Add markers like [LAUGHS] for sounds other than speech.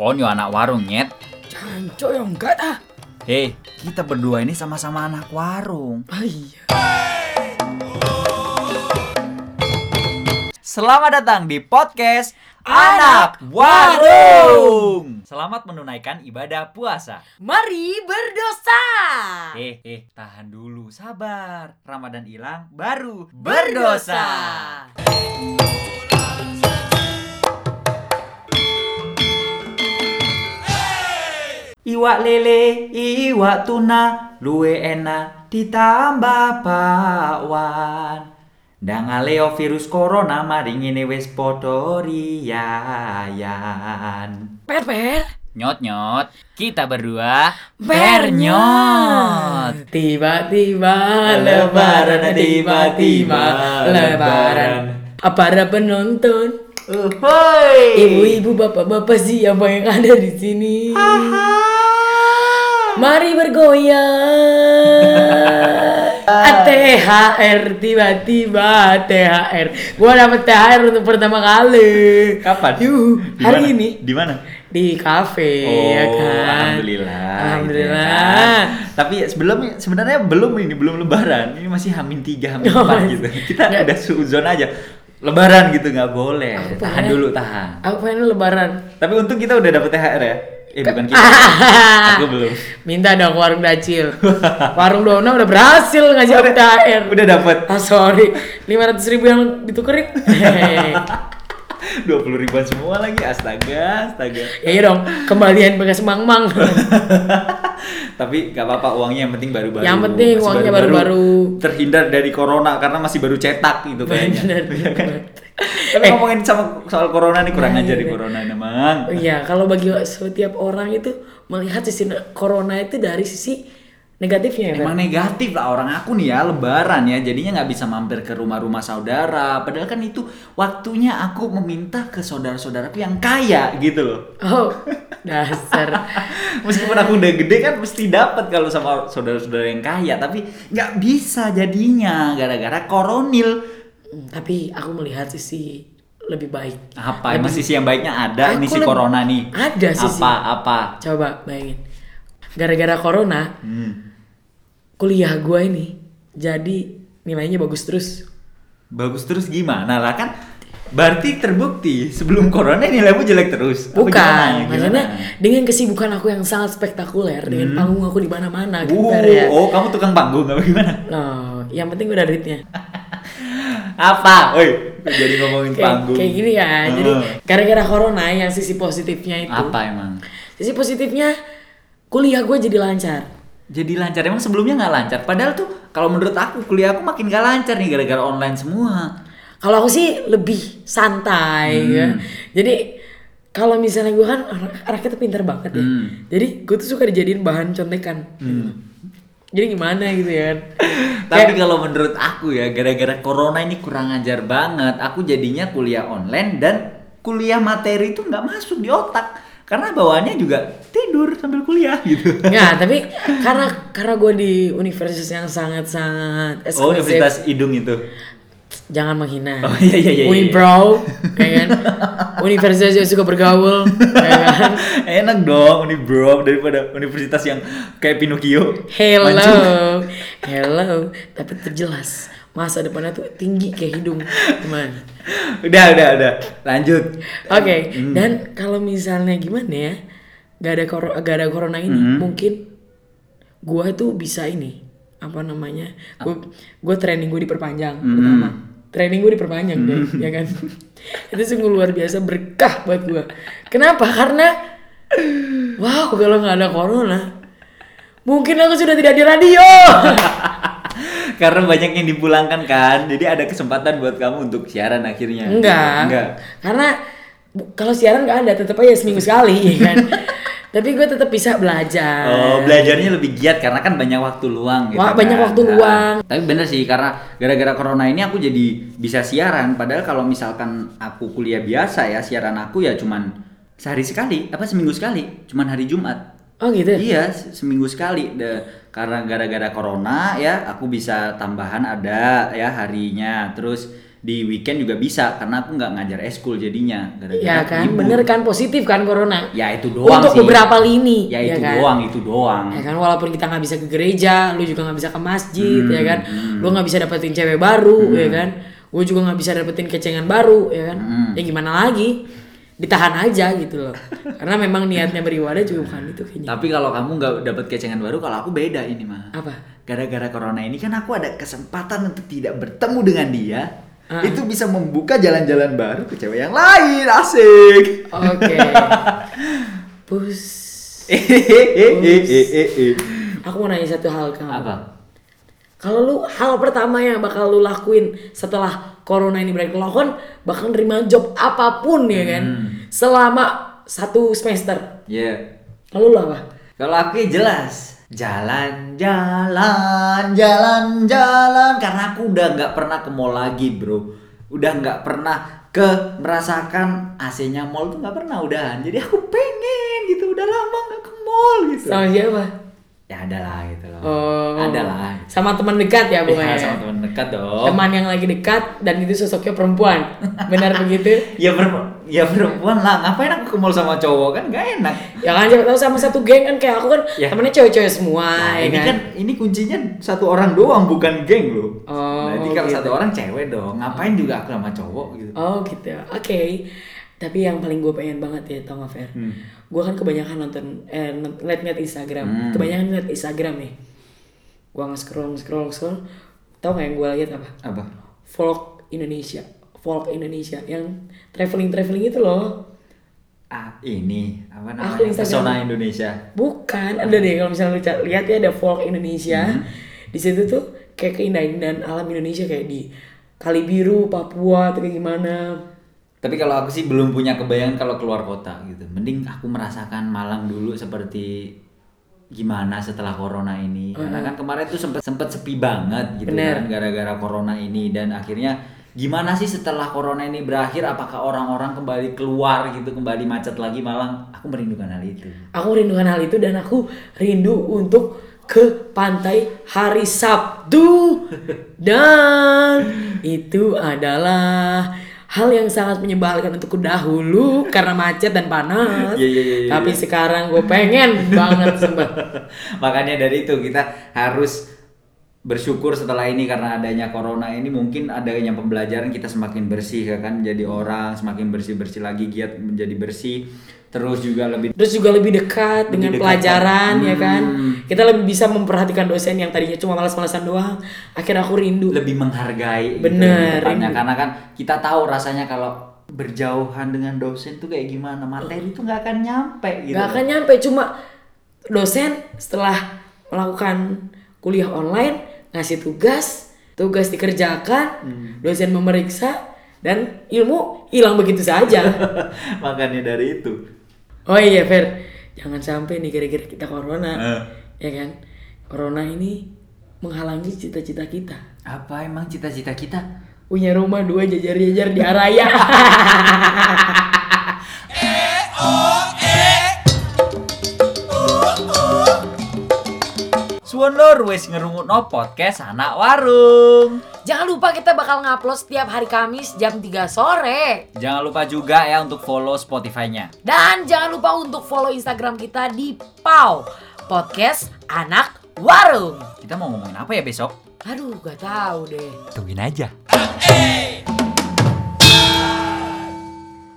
On yo anak warung nyet. Cancok ya enggak ah. Hei, kita berdua ini sama-sama anak warung. Ah iya. Selamat datang di podcast Anak Warung. Selamat menunaikan ibadah puasa. Mari berdosa. Eh, eh, tahan dulu, sabar. Ramadan hilang, baru berdosa. Iwak lele, iwak tuna, luwe enak ditambah bakwan. Dang aleo virus corona maring ini wis podo riayan. Per per. Nyot nyot, kita berdua Tiba-tiba Lebaran, tiba-tiba Lebaran. Para penonton, Uhoy. ibu-ibu, bapak-bapak siapa yang ada di sini? Ah. Mari bergoyang. Ah. THR tiba-tiba THR. Gua dapet THR untuk pertama kali. Kapan? Yuh, Di hari mana? ini Di mana? di kafe oh, ya kan. alhamdulillah. ya Alhamdulillah. gitu ya kan. Tapi sebelumnya sebenarnya belum ini belum lebaran. Ini masih hamin 3, hamin Oh, 4 masih. gitu. Kita udah suzon aja. Lebaran gitu nggak boleh. Tahan pengen- dulu, tahan. Aku pengen lebaran. Tapi untung kita udah dapet THR ya. Eh bukan [LAUGHS] kita. Aku belum. Minta dong ke warung dacil. warung Dona udah berhasil ngasih aku THR. Udah dapet Ah sorry, 500 ribu yang [LAUGHS] ditukerin. Ya Hehehe. 20 ribuan semua lagi. Astaga, astaga. ya iya dong, kembalian bekas mang-mang. Tapi gak apa-apa uangnya yang penting baru-baru. Yang penting Masih uangnya baru-baru. Terhindar dari corona karena masih baru cetak gitu kayaknya. Bener, [LAUGHS] Iya kan? bener. Tapi Eh. ngomongin sama soal corona nih kurang ajar di corona Iya, emang. Oh Iya, kalau bagi setiap orang itu melihat sisi ne- corona itu dari sisi negatifnya ya. Fer? Emang negatif lah orang aku nih ya lebaran ya jadinya nggak bisa mampir ke rumah-rumah saudara padahal kan itu waktunya aku meminta ke saudara-saudaraku yang kaya gitu loh Oh, [LAUGHS] dasar. meskipun aku udah gede kan mesti dapat kalau sama saudara-saudara yang kaya tapi nggak bisa jadinya gara-gara koronil Hmm, Tapi aku melihat sisi lebih baik. apa emang sisi yang baiknya ada ini Aku si lebih- corona nih Ada sisi. apa apa Coba bayangin. Gara-gara corona, Hmm. kuliah gua ini jadi nilainya bagus terus. bagus terus gimana lah kan berarti terbukti sebelum corona nilaimu jelek terus Apa Bukan, gimana? maksudnya Gimana? Hmm. dengan kesibukan aku yang sangat spektakuler dengan panggung aku di mana-mana gitu Uh, Fer, ya. oh kamu tukang panggung apa gimana? Loh, yang penting udah duitnya. Apa? Woi, jadi ngomongin Kayak- panggung. Kayak gitu. gini ya. Heeh. Jadi gara-gara corona yang sisi positifnya itu. apa emang? Sisi positifnya kuliah gue jadi lancar. Jadi lancar emang sebelumnya nggak lancar. Padahal tuh kalau menurut aku kuliah aku makin gak lancar nih gara-gara online semua. Kalau aku sih lebih santai Hmm. ya. Jadi kalau misalnya gue kan orang anaknya tuh pinter banget ya. Hmm. Jadi gue tuh suka dijadiin bahan contekan. Jadi gimana gitu ya kan. [LAUGHS] Tapi kalau menurut aku ya gara-gara corona ini kurang ajar banget. Aku jadinya kuliah online dan kuliah materi itu nggak masuk di otak karena bawaannya juga tidur sambil kuliah gitu. [LAUGHS] Nggak, tapi karena karena gue di universitas yang sangat-sangat eksklusif. Oh, universitas hidung itu. [LAUGHS] jangan menghina. Oh, iya, iya, iya, iya. Unibrow, ya kan? Universitas yang suka bergaul, ya kan? Enak dong Unibrow daripada universitas yang kayak Pinocchio. Hello, Mancung. hello, tapi terjelas masa depannya tuh tinggi kayak hidung, teman. [LAUGHS] Udah, udah, udah. Lanjut. Oke, dan kalau misalnya gimana ya, gak ada kor gak ada corona ini, mungkin gua tuh bisa ini apa namanya, gua gua training gue diperpanjang pertama, training gue diperpanjang deh, ya kan, [LAUGHS] itu sungguh luar biasa berkah buat gua. Kenapa? Karena wow kalau nggak ada corona, mungkin aku sudah tidak di radio. [LAUGHS] Karena banyak yang dipulangkan kan. Jadi ada kesempatan buat kamu untuk siaran akhirnya. Enggak. Enggak. Karena bu- kalau siaran nggak ada, tetap aja seminggu sekali, [LAUGHS] ya kan. Tapi gue tetap bisa belajar. Oh, belajarnya lebih giat karena kan banyak waktu luang gitu. Wah, kan. banyak waktu Nah, luang. Tapi bener sih karena gara-gara corona ini aku jadi bisa siaran padahal kalau misalkan aku kuliah biasa ya, siaran aku ya cuman sehari sekali, apa seminggu sekali, cuman hari Jumat. Oh gitu. Iya, se- seminggu sekali. De, karena gara-gara corona ya, aku bisa tambahan ada ya harinya. Terus di weekend juga bisa karena aku nggak ngajar eskul jadinya gara-gara Ya aku kan, libur. bener kan positif kan corona. ya iya, itu doang Untuk sih beberapa lini, ya ya itu kan? doang itu doang Ya kan walaupun kita nggak bisa ke gereja, lu juga nggak bisa ke masjid, ya kan? Hmm. Lu nggak bisa dapetin cewek baru, ya kan? Gue juga nggak bisa dapetin kecengan baru, ya kan? Hmm. Ya gimana lagi? Ditahan aja gitu loh. Karena memang niatnya beribadah juga bukan itu kayaknya. tapi kalau kamu nggak dapat kecengan baru kalau aku beda ini mah Apa? gara-gara corona ini kan aku ada kesempatan untuk tidak bertemu dengan dia Ah. itu bisa membuka jalan-jalan baru ke cewek yang lain asik [LAUGHS] Oke. Pus. [LAUGHS] Aku mau nanya satu hal ke kamu. apa Kalau lu hal pertama yang bakal lu lakuin setelah corona ini berakhir, lo kan bakal nerima job apapun ya kan, Hmm. selama satu semester. ya Lalu lu apa? Kalau aku ya jelas jalan-jalan, jalan-jalan karena aku udah nggak pernah ke mall lagi, bro. Udah nggak pernah ke merasakan AC-nya mall tuh nggak pernah udahan. Jadi aku pengen gitu, udah lama nggak ke mall gitu. Sama siapa? Ya adalah gitu loh. Oh. Adalah. Sama teman dekat ya Ya, pokoknya. sama teman dekat dong. teman yang lagi dekat dan itu sosoknya perempuan. Benar [LAUGHS] begitu? Ya perempuan, ya perempuan lah. Ngapain aku ke mall sama cowok kan nggak enak. Ya kan siapa tahu sama satu geng kan kayak aku kan Ya. temennya cewek-cewek semua Nah, ya ini kan? kan ini kuncinya satu orang doang bukan geng loh. Oh, Berarti kalau gitu. satu orang cewek dong, ngapain juga aku sama cowok gitu. Oh gitu, oke. Tapi yang paling gue pengen banget ya tau gak Fer? Hmm. Gue kan kebanyakan nonton, eh ngeliat-ngeliat Instagram Hmm. Kebanyakan ngeliat Instagram nih Gue nge-scroll, nge-scroll, nge-scroll Tau gak yang gue lihat apa? Apa? Vlog Indonesia Vlog Indonesia Yang traveling-traveling itu loh Ah, ini apa namanya? Aku Instagram. Pesona Indonesia. Bukan, ada deh kalau misalnya lu ca- lihat ya ada vlog Indonesia Hmm. di situ tuh kayak keindahan-keindahan alam Indonesia Kayak di Kali Biru, Papua, atau kayak gimana Tapi kalau aku sih belum punya kebayangan kalau keluar kota gitu. Mending aku merasakan Malang dulu seperti gimana setelah corona ini. Karena kan kemarin tuh sempet sempet sepi banget gitu Bener. kan gara-gara corona ini dan akhirnya gimana sih setelah corona ini berakhir apakah orang-orang kembali keluar gitu kembali macet lagi Malang? Aku merindukan hal itu. Aku rindukan hal itu dan aku rindu untuk ke pantai hari Sabtu dan itu adalah hal yang sangat menyebalkan untukku dahulu karena macet dan panas. Iya, iya, iya, iya. Tapi sekarang gue pengen banget sumpah. [LAUGHS] Makanya dari itu kita harus bersyukur setelah ini karena adanya corona ini mungkin adanya pembelajaran kita semakin bersih ya kan jadi orang semakin bersih-bersih lagi giat menjadi bersih terus juga lebih Terus juga lebih dekat dengan dekat, pelajaran ya kan. Hmm. Kita lebih bisa memperhatikan dosen yang tadinya cuma malas-malasan doang. Akhirnya aku rindu. lebih menghargai gitu Bener, depannya. ini. karena kan kita tahu rasanya kalau berjauhan dengan dosen tuh kayak gimana materi tuh nggak akan nyampe gitu Gak akan nyampe cuma dosen setelah melakukan kuliah online ngasih tugas, tugas dikerjakan, Hmm. dosen memeriksa dan ilmu hilang begitu [LAUGHS] saja. [LAUGHS] makanya dari itu oh iya Fer, jangan sampai nih gara-gara kita corona, Eh. ya kan? Corona ini menghalangi cita-cita kita. apa emang cita-cita kita Punya rumah dua jajar-jajar di Araya. Suwon lor wes ngerungokno podcast anak warung [LAUGHS] jangan lupa kita bakal ngupload setiap hari Kamis jam 3 sore. Jangan lupa juga ya untuk follow Spotify-nya. Dan jangan lupa untuk follow Instagram kita di PAW Podcast Anak Warung. Kita mau ngomongin apa ya besok? Aduh, gak tahu deh. Tungguin aja. Hey!